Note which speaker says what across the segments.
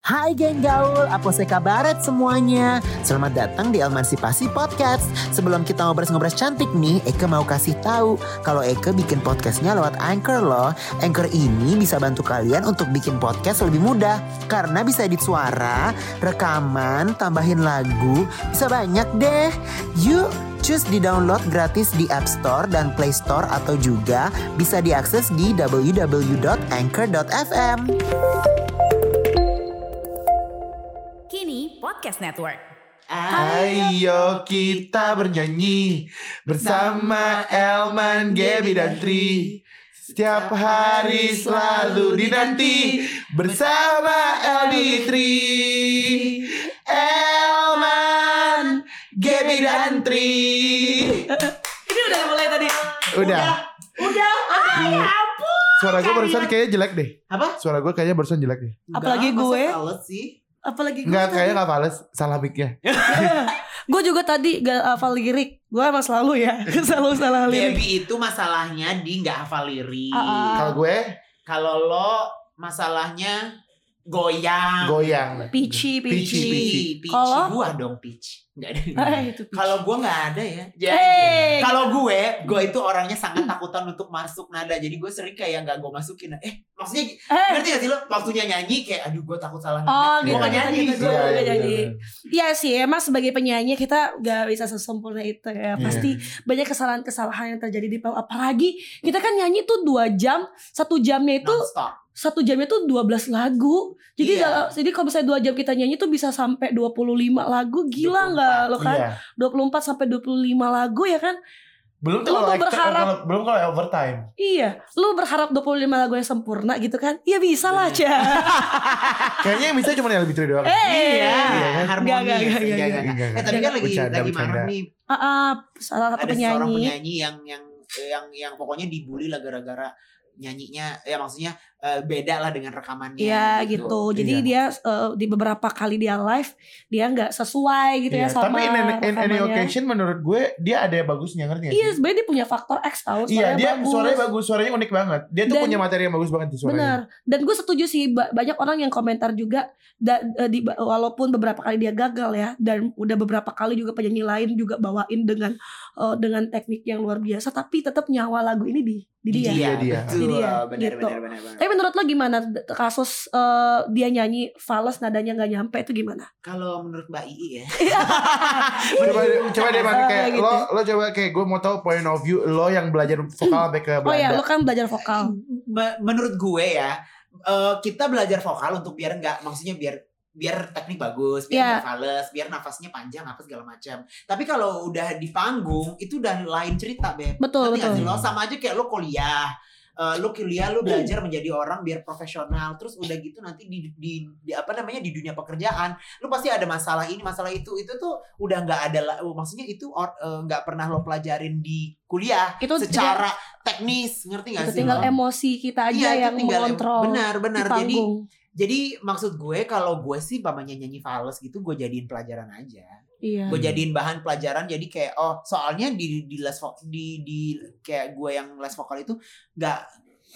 Speaker 1: Hai geng gaul, apa kabaret semuanya? Selamat datang di Emansipasi Podcast. Sebelum kita ngobrol-ngobrol cantik nih, Eke mau kasih tahu kalau Eke bikin podcastnya lewat Anchor loh. Anchor ini bisa bantu kalian untuk bikin podcast lebih mudah karena bisa edit suara, rekaman, tambahin lagu, bisa banyak deh. Yuk Cus di-download gratis di App Store dan Play Store atau juga bisa diakses di www.anchor.fm.
Speaker 2: Kini Podcast Network.
Speaker 3: Ayo kita bernyanyi bersama Elman, Gaby dan Tri Setiap hari selalu dinanti bersama Eldi Tri Elman, Gaby dan Tri
Speaker 4: Ini udah mulai tadi.
Speaker 3: Udah, Iya.
Speaker 4: Udah. Ah, ya
Speaker 3: suara gue barusan kayaknya jelek deh
Speaker 4: Apa?
Speaker 3: Suara gue kayaknya barusan jelek deh
Speaker 4: Apalagi
Speaker 5: Enggak,
Speaker 4: gue.
Speaker 5: masa salah sih?
Speaker 4: Apalagi Iya. gue.
Speaker 3: Enggak, kayaknya gak pales, salah mic-nya
Speaker 4: Gue juga tadi gak hafal lirik. Gue emang selalu ya. selalu salah lirik.
Speaker 5: Debbie itu masalahnya di nggak hafal lirik.
Speaker 4: Ah, ah.
Speaker 3: Kalau gue,
Speaker 5: Kalau lo masalahnya
Speaker 4: Ah,
Speaker 5: goyang.
Speaker 3: goyang
Speaker 4: Pici,
Speaker 3: Pici,
Speaker 4: pici.
Speaker 3: pici.
Speaker 5: Peach.
Speaker 4: Kalau-
Speaker 5: gua dong peach. Nggak ada.
Speaker 4: Ah, itu pici.
Speaker 5: Kalau gua nggak ada ya. Ya.
Speaker 4: Hey.
Speaker 5: Kalau gue, gue itu orangnya sangat takutan untuk masuk nada. Jadi gue sering kayak nggak gue masukin. Eh, maksudnya
Speaker 4: Eh.
Speaker 5: ngerti gak sih lo? Waktunya nyanyi kayak aduh gue takut salah nada.
Speaker 4: Oh
Speaker 5: Gue
Speaker 4: gitu,
Speaker 5: nggak
Speaker 4: gitu,
Speaker 5: nyanyi.
Speaker 4: gitu,
Speaker 3: Iya,
Speaker 4: gue
Speaker 3: iya,
Speaker 4: nyanyi.
Speaker 3: bener.
Speaker 4: Iya sih, emang sebagai penyanyi kita gak bisa sesempurna itu ya. Pasti banyak kesalahan-kesalahan yang terjadi di panggung. Apalagi kita kan nyanyi tuh dua jam, satu jamnya itu
Speaker 5: Nonstop.
Speaker 4: satu jamnya tuh 12 lagu. Jadi
Speaker 5: Iya.
Speaker 4: dalam- jadi kalau misalnya dua jam kita nyanyi tuh bisa sampai 25 lagu. Gila nggak lo kan?
Speaker 3: Iya
Speaker 4: 24 sampai 25 lagu ya kan?
Speaker 3: Belum
Speaker 4: Lu
Speaker 3: kalau
Speaker 4: tuh
Speaker 3: extra-
Speaker 4: berharap-
Speaker 3: kalau- belum kalau overtime.
Speaker 4: Iya, lu berharap 25 lagu yang sempurna gitu kan? Ya bisa lah, Ca.
Speaker 3: Kayaknya yang bisa cuma yang lebih doang.
Speaker 4: Eh. iya,
Speaker 5: Iya,
Speaker 3: Iya kan?
Speaker 5: harmonis.
Speaker 4: Nggak, nggak, nggak,
Speaker 5: Nggak,
Speaker 4: nggak,
Speaker 5: nggak,
Speaker 3: nggak.
Speaker 5: nggak. Eh, tapi kan lagi
Speaker 3: Bercanda,
Speaker 5: lagi marah
Speaker 3: bercanda.
Speaker 5: nih
Speaker 4: Ah, ah, salah satu
Speaker 5: ada seorang
Speaker 4: penyanyi.
Speaker 5: penyanyi yang yang yang yang pokoknya dibully lah gara-gara nyanyinya ya maksudnya eh, beda lah dengan rekamannya
Speaker 4: Iya gitu.
Speaker 3: Iya.
Speaker 4: Jadi dia eh, di beberapa kali dia live dia nggak sesuai gitu
Speaker 3: Iya,
Speaker 4: ya sama
Speaker 3: Tapi in, an- in any
Speaker 4: rekamannya.
Speaker 3: occasion menurut gue dia ada bagusnya ngerti gak sih?
Speaker 4: Iya, sebenarnya dia punya faktor X tau.
Speaker 3: Iya,
Speaker 4: suaranya
Speaker 3: dia
Speaker 4: bagus.
Speaker 3: suaranya bagus, suaranya unik banget. Dia tuh
Speaker 4: Dan-
Speaker 3: punya materi yang bagus banget di
Speaker 4: Benar.
Speaker 3: suaranya.
Speaker 4: Dan gue setuju sih ba- banyak orang yang komentar juga da- eh, di, walaupun beberapa kali dia gagal ya dan udah beberapa kali juga penyanyi lain juga bawain dengan eh, dengan teknik yang luar biasa tapi tetap nyawa lagu ini di di dia.
Speaker 3: Iya, dia.
Speaker 5: betul
Speaker 4: gitu. Di dia,
Speaker 5: benar
Speaker 4: gitu.
Speaker 5: benar benar benar.
Speaker 4: Tapi menurut lo gimana D- kasus eh, dia nyanyi fals nadanya nggak nyampe itu gimana?
Speaker 5: kalau menurut Mbak Ii ya
Speaker 3: Coba coba deh pakai kayak
Speaker 4: Iya, Gitu.
Speaker 3: lo lo coba kayak gue mau tahu point of view lo yang belajar vokal sampai ke
Speaker 4: Oh ya,
Speaker 3: Belanda.
Speaker 4: lo kan belajar
Speaker 5: Iya.
Speaker 4: vokal.
Speaker 5: me- menurut gue ya eh, kita belajar vokal untuk biar nggak maksudnya biar biar teknik bagus,
Speaker 4: Iya.
Speaker 5: biar nggak fales, biar nafasnya panjang apa segala macam. Tapi kalau udah di panggung itu udah lain cerita, Beb.
Speaker 4: Betul,
Speaker 5: Ngerti nggak
Speaker 4: betul. Iya.
Speaker 5: sih lo sama aja kayak lo kuliah Eh, lo kuliah lo belajar menjadi orang biar profesional terus udah gitu nanti di, di, di- apa namanya di dunia pekerjaan lo pasti ada masalah ini masalah itu itu tuh udah nggak ada la- oh, maksudnya itu or- eh, nggak pernah lo pelajarin di kuliah
Speaker 4: Itu
Speaker 5: secara teknis ngerti nggak
Speaker 4: tinggal,
Speaker 5: sih
Speaker 4: tinggal
Speaker 5: lo?
Speaker 4: emosi kita aja
Speaker 5: Iya, itu
Speaker 4: yang
Speaker 5: tinggal em-
Speaker 4: mengontrol
Speaker 5: benar benar
Speaker 4: di
Speaker 5: jadi
Speaker 4: panggung.
Speaker 5: jadi maksud gue kalau gue sih pamannya nyanyi fals gitu gue jadiin pelajaran aja
Speaker 4: Iya.
Speaker 5: gue jadiin bahan pelajaran jadi kayak oh soalnya di di les vo- di di kayak gue yang les vokal itu nggak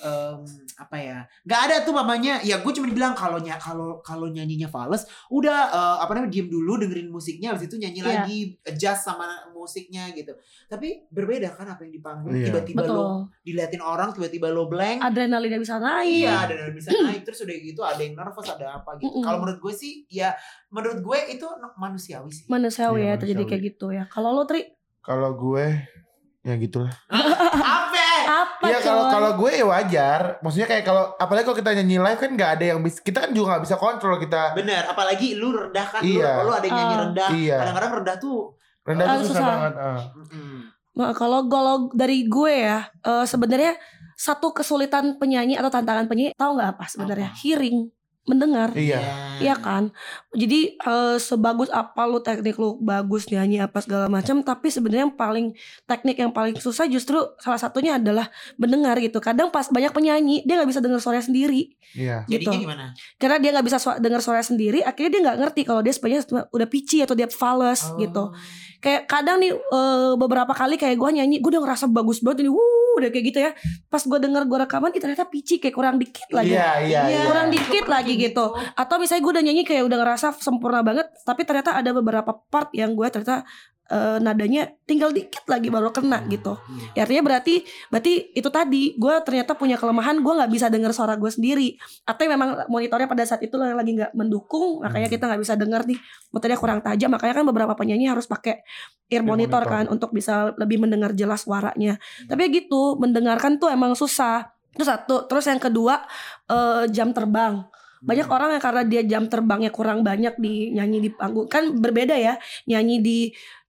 Speaker 5: em, apa ya nggak ada tuh mamanya ya gue cuma bilang kalau nya- kalau kalau nyanyinya fals udah eh, apa namanya diem dulu dengerin musiknya habis itu nyanyi
Speaker 4: Iya.
Speaker 5: lagi adjust sama musiknya gitu tapi berbeda kan apa yang di panggung
Speaker 3: Iya.
Speaker 5: tiba-tiba lo
Speaker 4: Betul. Ah,
Speaker 5: diliatin orang tiba-tiba lo blank
Speaker 4: Adrenalinnya bisa naik.
Speaker 5: Iya, ada yang bisa naik terus udah gitu ada yang nervous ada apa gitu.
Speaker 4: Mm-mm.
Speaker 5: Kalau menurut gue sih ya menurut gue itu manusiawi sih.
Speaker 3: Iya,
Speaker 4: Manusiawi ya terjadi
Speaker 3: manusiawi.
Speaker 4: kayak gitu ya. Kalau lo Tri
Speaker 3: Kalau gue ya gitulah.
Speaker 5: apa?
Speaker 4: apa
Speaker 3: Iya kalau
Speaker 4: coy?
Speaker 3: kalau gue ya wajar. Maksudnya kayak kalau apalagi kalau kita nyanyi live kan nggak ada yang bisa kita kan juga nggak bisa kontrol kita
Speaker 5: Bener, apalagi lu rendah kan
Speaker 3: Iya.
Speaker 5: lu, lu ada yang nyanyi
Speaker 4: Ah.
Speaker 5: rendah.
Speaker 3: Iya.
Speaker 5: Kadang-kadang rendah tuh
Speaker 3: rendah
Speaker 4: Ah,
Speaker 3: itu susah,
Speaker 4: susah.
Speaker 3: banget. ah.
Speaker 5: mm,
Speaker 4: Nah, kalau kalau dari gue ya eh, sebenarnya satu kesulitan penyanyi atau tantangan penyanyi tahu nggak apa sebenarnya?
Speaker 5: Apa?
Speaker 4: Hearing, mendengar.
Speaker 3: Iya.
Speaker 4: Iya kan, jadi eh, sebagus apa lu teknik lu bagus nyanyi apa segala macam, tapi sebenarnya yang paling teknik yang paling susah justru salah satunya adalah mendengar gitu. Kadang pas banyak penyanyi dia nggak bisa dengar suaranya sendiri,
Speaker 3: Iya.
Speaker 5: Jadinya
Speaker 4: Gitu.
Speaker 5: gimana?
Speaker 4: karena dia nggak bisa su- dengar suaranya sendiri, akhirnya dia nggak ngerti kalau dia sebenarnya udah pici atau dia fals
Speaker 5: Oh.
Speaker 4: gitu. kayak kadang nih eh, beberapa kali kayak gue nyanyi gue udah ngerasa bagus banget ini wuh udah kayak gitu ya pas gue denger gue rekaman ih ternyata pici kayak kurang dikit lagi
Speaker 3: Iya, iya,
Speaker 5: Iya.
Speaker 3: iya.
Speaker 4: kurang
Speaker 5: Iya.
Speaker 4: dikit lagi gitu atau misalnya gue udah nyanyi kayak udah ngerasa sempurna banget tapi ternyata ada beberapa part yang gue ternyata eh, nadanya tinggal dikit lagi baru kena gitu Ya, artinya berarti berarti itu tadi gue ternyata punya kelemahan gue nggak bisa dengar suara gue sendiri atau memang monitornya pada saat itu lagi nggak mendukung makanya kita nggak bisa dengar nih motornya kurang tajam makanya kan beberapa penyanyi harus pakai ear
Speaker 3: Ear
Speaker 4: monitor,
Speaker 3: monitor.
Speaker 4: kan untuk bisa lebih mendengar jelas suaranya tapi gitu mendengarkan tuh emang susah itu satu terus yang kedua eh, jam terbang banyak orang yang karena dia jam terbangnya kurang banyak di nyanyi di panggung kan berbeda ya nyanyi di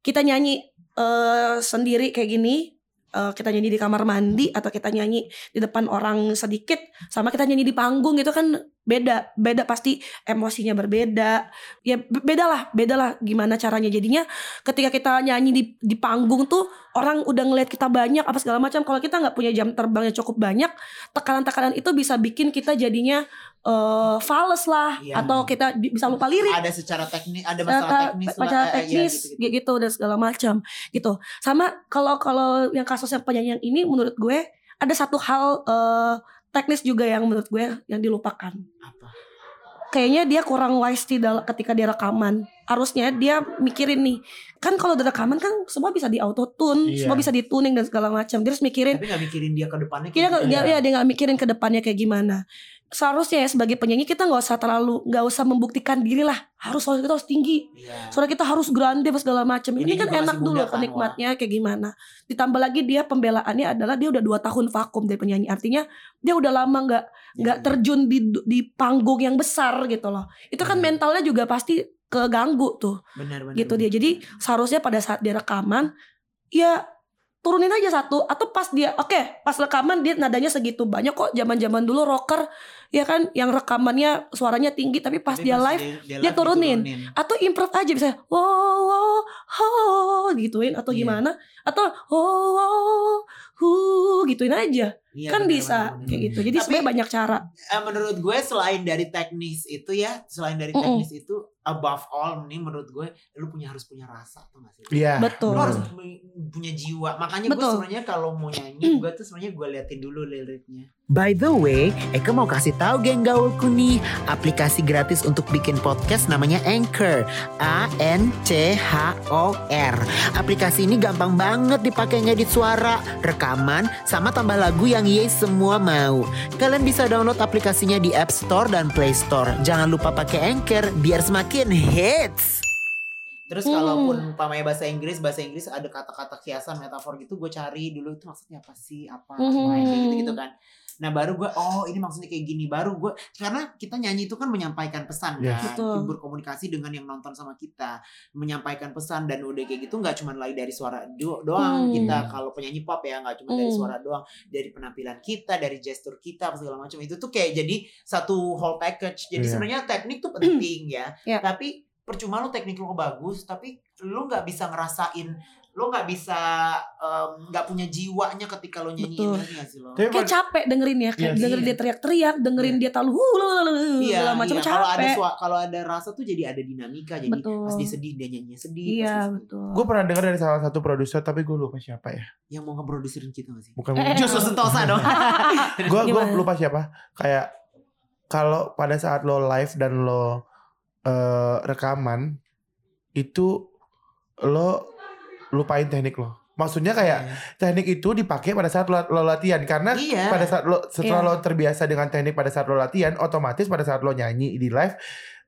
Speaker 4: kita nyanyi eh, sendiri kayak gini eh, kita nyanyi di kamar mandi atau kita nyanyi di depan orang sedikit sama kita nyanyi di panggung itu kan beda beda pasti emosinya berbeda ya be- beda lah beda lah gimana caranya jadinya ketika kita nyanyi di di panggung tuh orang udah ngeliat kita banyak apa segala macam kalau kita nggak punya jam terbang yang cukup banyak tekanan-tekanan itu bisa bikin kita jadinya eh fals lah
Speaker 5: Iya.
Speaker 4: atau kita bi- bisa lupa lirik
Speaker 5: ada secara teknis ada masalah
Speaker 4: masalah
Speaker 5: teknis
Speaker 4: Eh, masalah
Speaker 5: lah, eh, eh, iya,
Speaker 4: teknis
Speaker 5: gitu-gitu.
Speaker 4: gitu, dan segala macam gitu sama kalau kalau yang kasus yang penyanyi yang ini menurut gue ada satu hal eh, teknis juga yang menurut gue yang dilupakan
Speaker 5: Apa?
Speaker 4: kayaknya dia kurang wise di dalam ketika dia rekaman harusnya dia mikirin nih kan kalau di rekaman kan semua bisa di auto tune
Speaker 3: Iya.
Speaker 4: semua bisa di tuning dan segala macam dia harus mikirin
Speaker 5: tapi nggak mikirin dia ke depannya gitu.
Speaker 4: kita nggak-
Speaker 5: gimana.
Speaker 3: Iya.
Speaker 4: dia, ya, dia nggak mikirin ke depannya kayak gimana seharusnya ya sebagai penyanyi kita nggak usah terlalu nggak usah membuktikan diri lah harus suara kita harus tinggi
Speaker 5: Iya.
Speaker 4: Soalnya kita harus grande apa segala macam. Ini
Speaker 5: Ini
Speaker 4: kan
Speaker 5: juga
Speaker 4: enak
Speaker 5: masih
Speaker 4: dulu
Speaker 5: muda kan,
Speaker 4: penikmatnya kayak gimana. Ditambah lagi dia pembelaannya adalah dia udah dua tahun vakum dari penyanyi. Artinya dia udah lama nggak nggak terjun di di panggung yang besar gitu loh. Itu kan
Speaker 5: Hmm.
Speaker 4: mentalnya juga pasti keganggu tuh
Speaker 5: benar benar
Speaker 4: gitu dia. Jadi seharusnya pada saat dia rekaman ya turunin aja satu atau pas dia oke pas rekaman dia nadanya segitu banyak kok zaman-zaman dulu rocker ya kan yang rekamannya suaranya tinggi tapi pas dia live dia turunin. atau improv aja bisa wow wow ho gituin atau
Speaker 5: Iya.
Speaker 4: gimana atau wow wow hu gituin aja
Speaker 5: Iya,
Speaker 4: kan
Speaker 5: benar,
Speaker 4: bisa
Speaker 5: benar, benar.
Speaker 4: kayak gitu jadi
Speaker 5: Tapi-
Speaker 4: sebenarnya banyak cara
Speaker 5: Eh, menurut gue selain dari teknis itu ya selain dari
Speaker 4: Mm-mm.
Speaker 5: teknis itu above all nih menurut gue lu punya harus punya rasa tuh gak sih
Speaker 3: Iya.
Speaker 4: betul
Speaker 5: lu
Speaker 3: Hmm.
Speaker 5: harus pu- punya jiwa makanya gue
Speaker 4: Betul. Hmm.
Speaker 5: sebenarnya kalau mau nyanyi gue tuh sebenarnya gue liatin dulu liriknya
Speaker 1: By the way, Eka mau kasih tahu geng gaulku nih, aplikasi gratis untuk bikin podcast namanya Anchor. A N C H O R. Aplikasi ini gampang banget dipakai ngedit suara, rekaman, sama tambah lagu yang ye semua mau. Kalian bisa download aplikasinya di App Store dan Play Store. Jangan lupa pakai Anchor biar semakin hits.
Speaker 5: terus
Speaker 4: Hmm.
Speaker 5: kalaupun pamaya bahasa Inggris bahasa Inggris ada kata-kata kiasan metafor gitu gue cari dulu itu maksudnya apa sih apa
Speaker 4: Mhm.
Speaker 5: gitu gitu kan nah baru gue oh ini maksudnya kayak gini baru gue karena kita nyanyi itu kan menyampaikan pesan
Speaker 3: Yes.
Speaker 5: kan
Speaker 4: Betul.
Speaker 5: berkomunikasi dengan yang nonton sama kita menyampaikan pesan dan udah kayak gitu nggak cuma lagi dari suara do- doang
Speaker 4: Hmm.
Speaker 5: kita kalau penyanyi pop ya nggak cuma dari
Speaker 4: Hmm.
Speaker 5: suara doang dari penampilan kita dari gestur kita apa segala macam itu tuh kayak jadi satu whole package jadi
Speaker 3: Iya.
Speaker 5: sebenarnya teknik tuh penting ya
Speaker 4: Iya.
Speaker 5: tapi percuma lu teknik lu bagus tapi lu nggak bisa ngerasain lu nggak bisa em, nggak punya jiwanya ketika lu nyanyiin
Speaker 4: Betul.
Speaker 5: ngerti nggak sih lo
Speaker 3: Tapi
Speaker 4: kayak capek dengerin ya
Speaker 3: Iya.
Speaker 4: kayak dengerin dia teriak-teriak dengerin dia talu hu lu, lu, lu, lu, segala macam
Speaker 5: Iya. kalau ada
Speaker 4: capek
Speaker 5: sua- kalau ada rasa tuh jadi ada dinamika jadi
Speaker 4: Betul.
Speaker 5: pas dia sedih dia nyanyi sedih pas
Speaker 4: iya
Speaker 5: dia sedih.
Speaker 4: betul
Speaker 3: gue pernah dengar dari salah satu produser tapi gue lupa siapa ya.
Speaker 5: yang mau ngeproduserin kita gak sih
Speaker 3: Bukan
Speaker 4: Eh, eh,
Speaker 5: Justru Sentosa dong
Speaker 3: gue gue
Speaker 4: Gimana?
Speaker 3: lupa siapa kayak kalau pada saat lo live dan lo eh, rekaman itu lo lupain teknik lo maksudnya kayak teknik itu dipakai pada saat lo, lo latihan karena
Speaker 5: iya
Speaker 3: pada saat lo setelah
Speaker 4: Iya.
Speaker 3: lo terbiasa dengan teknik pada saat lo latihan otomatis pada saat lo nyanyi di live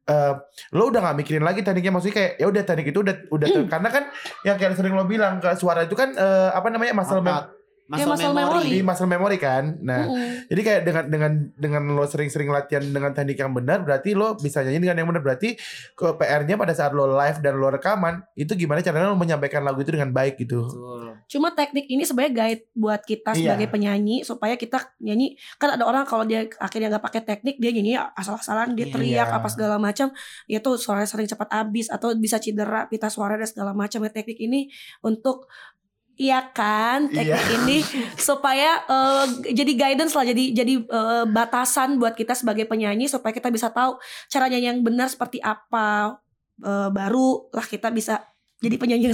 Speaker 3: eh, lo udah gak mikirin lagi tekniknya maksudnya kayak ya udah teknik itu udah udah
Speaker 4: Hmm.
Speaker 3: ter- karena kan yang kayak sering lo bilang ke suara itu kan eh, apa namanya muscle
Speaker 5: Otot.
Speaker 3: mem-
Speaker 5: muscle,
Speaker 4: Ya, muscle
Speaker 5: memory,
Speaker 3: di muscle memory kan nah
Speaker 4: Mm-mm.
Speaker 3: jadi kayak dengan dengan dengan lo sering-sering latihan dengan teknik yang benar berarti lo bisa nyanyi dengan yang benar berarti ke PR-nya pada saat lo live dan lo rekaman itu gimana caranya lo menyampaikan lagu itu dengan baik gitu.
Speaker 5: Betul.
Speaker 4: Cuma teknik ini sebenarnya guide buat kita
Speaker 3: Iya.
Speaker 4: sebagai penyanyi supaya kita nyanyi kan ada orang kalau dia akhirnya nggak pakai teknik dia nyanyi asal-asalan
Speaker 5: Iya.
Speaker 4: dia teriak apa segala macam ya tuh suaranya sering cepat habis atau bisa cedera pita suara dan segala macam ya teknik ini untuk Iya kan teknik ini supaya eh, jadi guidance lah jadi jadi eh, batasan buat kita sebagai penyanyi supaya kita bisa tahu caranya yang benar seperti apa Eh, baru lah kita bisa jadi penyanyi yang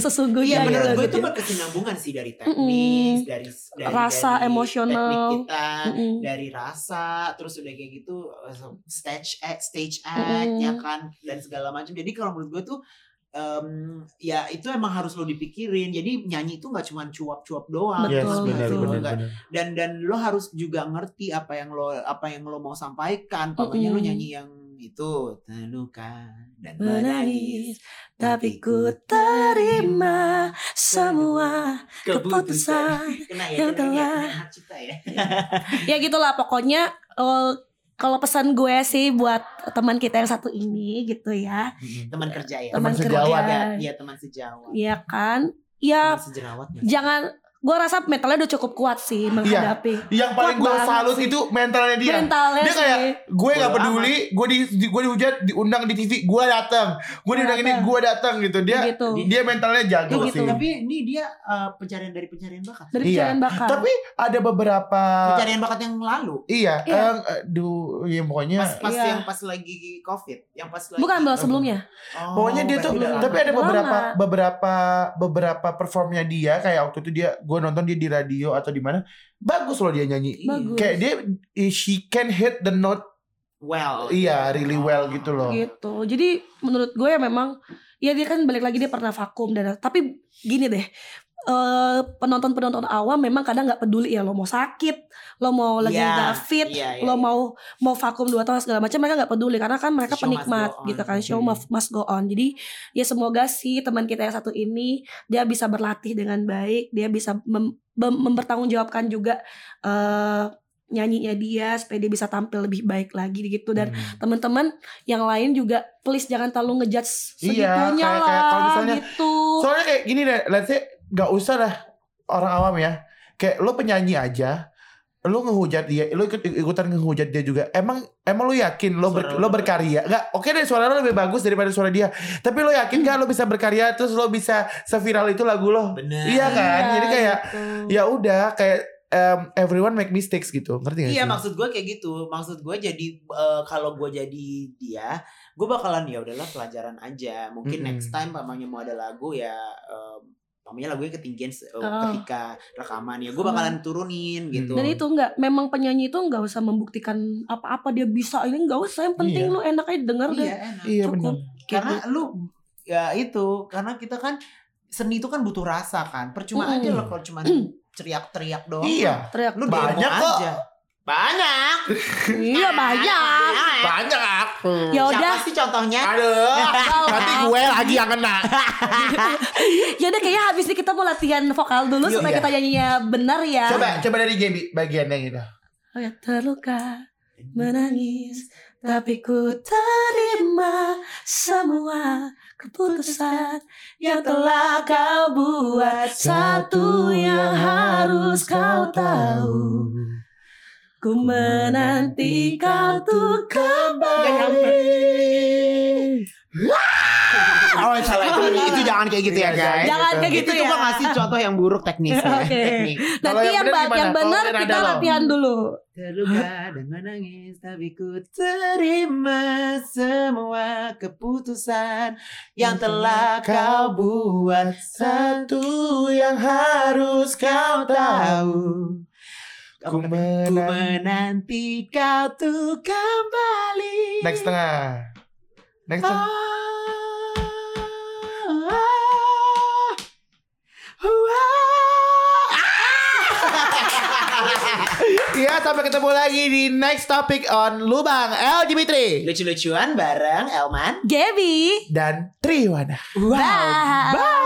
Speaker 5: Iya
Speaker 4: sesungguhnya
Speaker 5: menurut
Speaker 4: gitu.
Speaker 5: gue itu berkesinambungan sih dari teknis,
Speaker 4: Mm-mm.
Speaker 5: dari, dari
Speaker 4: Rasa
Speaker 5: dari
Speaker 4: emosional.
Speaker 5: teknik kita,
Speaker 4: Mm-mm.
Speaker 5: dari rasa, terus udah kayak gitu eh, stage act, stage act
Speaker 4: Mm-mm.
Speaker 5: ya kan dan segala macam. Jadi kalau menurut gue tuh em, ya itu emang harus lo dipikirin. Jadi nyanyi itu nggak cuma cuap-cuap doang.
Speaker 3: Yes,
Speaker 4: Betul,
Speaker 3: benar,
Speaker 4: betul.
Speaker 3: benar,
Speaker 5: Nggak-
Speaker 3: benar.
Speaker 5: dan dan lo harus juga ngerti apa yang lo apa yang lo mau sampaikan pokoknya lo
Speaker 4: Mm-mm.
Speaker 5: nyanyi yang itu terluka dan
Speaker 4: menangis
Speaker 5: menangis
Speaker 4: tapi ku terima semua keputusan
Speaker 5: kena ya kena
Speaker 4: yang
Speaker 5: ya,
Speaker 4: telah-
Speaker 5: kena hak cipta ya
Speaker 4: ya gitulah pokoknya eh, kalau pesan gue sih buat teman kita yang satu ini gitu ya
Speaker 5: teman kerja ya
Speaker 4: Teman
Speaker 3: sejawat.
Speaker 5: ya
Speaker 4: kerja.
Speaker 5: iya teman sejawat
Speaker 4: ya kan ya
Speaker 5: teman sejerawat ya.
Speaker 4: jangan gue rasa mentalnya udah cukup kuat sih menghadapi
Speaker 3: Yang paling
Speaker 4: Kuat
Speaker 3: gue
Speaker 4: banget
Speaker 3: salut
Speaker 4: sih.
Speaker 3: itu mentalnya dia.
Speaker 4: mentalnya
Speaker 3: Iya. Dia
Speaker 4: sih
Speaker 3: kayak gue nggak
Speaker 5: Bodo
Speaker 3: peduli, gue di, di gue dihujat, diundang di TV, gue datang. Gue
Speaker 4: Gua
Speaker 3: diundang ini,
Speaker 4: datang.
Speaker 3: gue datang gitu. Dia
Speaker 4: gitu
Speaker 3: dia mentalnya
Speaker 5: Tuh,
Speaker 3: jago
Speaker 4: Iya gitu.
Speaker 3: sih.
Speaker 5: tapi ini dia eh, pencarian dari pencarian bakat
Speaker 4: dari
Speaker 3: Iya.
Speaker 4: pencarian bakat
Speaker 3: Tapi ada beberapa
Speaker 5: pencarian bakat yang lalu
Speaker 3: iya,
Speaker 4: Iya.
Speaker 3: eh, aduh, iya pokoknya
Speaker 5: pas pas
Speaker 4: Iya.
Speaker 5: yang pas lagi covid yang pas lagi
Speaker 4: bukan bel sebelumnya
Speaker 5: Oh,
Speaker 3: Pokoknya dia
Speaker 5: berarti
Speaker 3: tuh,
Speaker 5: udah lama.
Speaker 3: tapi ada
Speaker 4: Udah
Speaker 3: beberapa
Speaker 4: lama.
Speaker 3: beberapa beberapa performnya dia kayak waktu itu dia gue nonton dia di radio atau di mana bagus loh dia nyanyi.
Speaker 4: Bagus.
Speaker 3: Kayak dia eh, she can hit the note
Speaker 5: well
Speaker 3: iya really well gitu loh.
Speaker 4: gitu jadi menurut gue ya memang ya dia kan balik lagi dia pernah vakum dan tapi gini deh eh, penonton-penonton awam memang kadang nggak peduli ya lo mau sakit lo mau lagi
Speaker 5: Iya,
Speaker 4: nggak fit
Speaker 5: iya, iya,
Speaker 4: lo
Speaker 5: iya.
Speaker 4: mau mau vakum dua tahun segala macam mereka nggak peduli karena kan mereka
Speaker 5: Show must
Speaker 4: penikmat
Speaker 5: go on. mm-hmm.
Speaker 4: gitu kan show
Speaker 3: Mhm.
Speaker 4: must, must go on jadi ya semoga sih teman kita yang satu ini dia bisa berlatih dengan baik dia bisa mem- mem- mempertanggungjawabkan juga eh nyanyinya dia supaya dia bisa tampil lebih baik lagi gitu dan
Speaker 3: Hmm.
Speaker 4: teman-teman yang lain juga please jangan terlalu ngejudge
Speaker 3: Iya,
Speaker 4: segitunya
Speaker 3: kayak-
Speaker 4: lah
Speaker 3: kayak kalau misalnya-
Speaker 4: gitu.
Speaker 3: Soalnya kayak gini deh, let's say nggak usah lah orang awam ya. Kayak lo penyanyi aja, lo ngehujat dia, lo ikut ikutan ngehujat dia juga. Emang emang lo yakin lo ber-
Speaker 5: Suara
Speaker 3: lo
Speaker 5: lo-
Speaker 3: berkarya? Nggak, oke deh suara lo lebih bagus daripada suara dia. Tapi lo yakin nggak lo bisa berkarya terus lo bisa seviral itu lagu lo?
Speaker 5: bener
Speaker 3: Iya kan?
Speaker 4: Iya,
Speaker 3: Jadi kayak
Speaker 4: gitu.
Speaker 3: ya udah kayak em, everyone make mistakes gitu, ngerti gak
Speaker 5: Iya
Speaker 3: sih?
Speaker 5: maksud gue kayak gitu Maksud gue jadi eh, Kalau gue jadi dia Gue bakalan ya udahlah pelajaran aja Mungkin
Speaker 3: Mm-mm.
Speaker 5: next time Mamanya mau ada lagu ya em, Mamanya lagunya ketinggian se- eh,
Speaker 4: Oh.
Speaker 5: Ketika rekaman Ya gue bakalan turunin gitu
Speaker 4: Dan itu enggak memang penyanyi itu enggak usah membuktikan apa-apa dia bisa ini enggak usah yang penting
Speaker 3: Iya.
Speaker 4: lu enak aja denger deh.
Speaker 5: Iya enak
Speaker 3: Iya
Speaker 4: Cukup.
Speaker 3: benar.
Speaker 4: Gitu.
Speaker 5: Karena lu Ya itu Karena kita kan Seni itu kan butuh rasa kan Percuma
Speaker 4: Mm-mm.
Speaker 5: aja lo Kalau cuma teriak-teriak doang
Speaker 3: Iya,
Speaker 4: teriak
Speaker 5: Lu
Speaker 4: gitu.
Speaker 3: Banyak
Speaker 5: banyak
Speaker 3: kok.
Speaker 5: aja Banyak
Speaker 4: iya
Speaker 2: Ah,
Speaker 4: Hmm. banyak.
Speaker 3: banyak aku.
Speaker 4: Ya udah,
Speaker 5: Siapa sih contohnya
Speaker 3: Aduh, nanti
Speaker 4: Wow.
Speaker 3: gue lagi yang kena.
Speaker 4: ya udah kayaknya habis ini kita mau latihan vokal dulu
Speaker 3: Yuk,
Speaker 4: supaya
Speaker 3: iya.
Speaker 4: kita nyanyinya benar ya.
Speaker 3: Coba coba dari Gaby bagiannya gitu.
Speaker 4: Oh ya terluka menangis tapi ku terima semua keputusan yang telah kau buat satu yang harus kau tahu ku menanti kau tuh kembali
Speaker 5: Oh salah itu, itu jangan kayak gitu ya
Speaker 3: Iya,
Speaker 5: guys.
Speaker 4: jangan kayak gitu
Speaker 5: itu tuh
Speaker 4: ya
Speaker 5: gue ngasih contoh yang buruk ya. teknisnya.
Speaker 4: Oke.
Speaker 5: Teknik.
Speaker 3: Kalau
Speaker 4: nanti
Speaker 3: yang
Speaker 4: yang
Speaker 3: bener
Speaker 4: ba-
Speaker 3: gimana?
Speaker 4: yang
Speaker 3: Kalau
Speaker 4: benar
Speaker 3: yang ada
Speaker 4: kita
Speaker 3: dong.
Speaker 4: latihan dulu
Speaker 5: Terluka dan menangis tapi ku terima semua keputusan yang telah kau buat
Speaker 3: Satu yang harus kau
Speaker 5: kau tahu.
Speaker 3: Ku
Speaker 5: Kau
Speaker 3: menanti.
Speaker 5: menanti. menanti kau tuh kembali. Ah.
Speaker 3: Next tengah. Next tengah.
Speaker 5: Ah.
Speaker 3: Iya, sampai ketemu lagi di next topic on Lubang L Dimitri
Speaker 5: Lucu-lucuan bareng Elman.
Speaker 4: Gaby
Speaker 3: dan Triwana.
Speaker 5: Wow.
Speaker 4: bye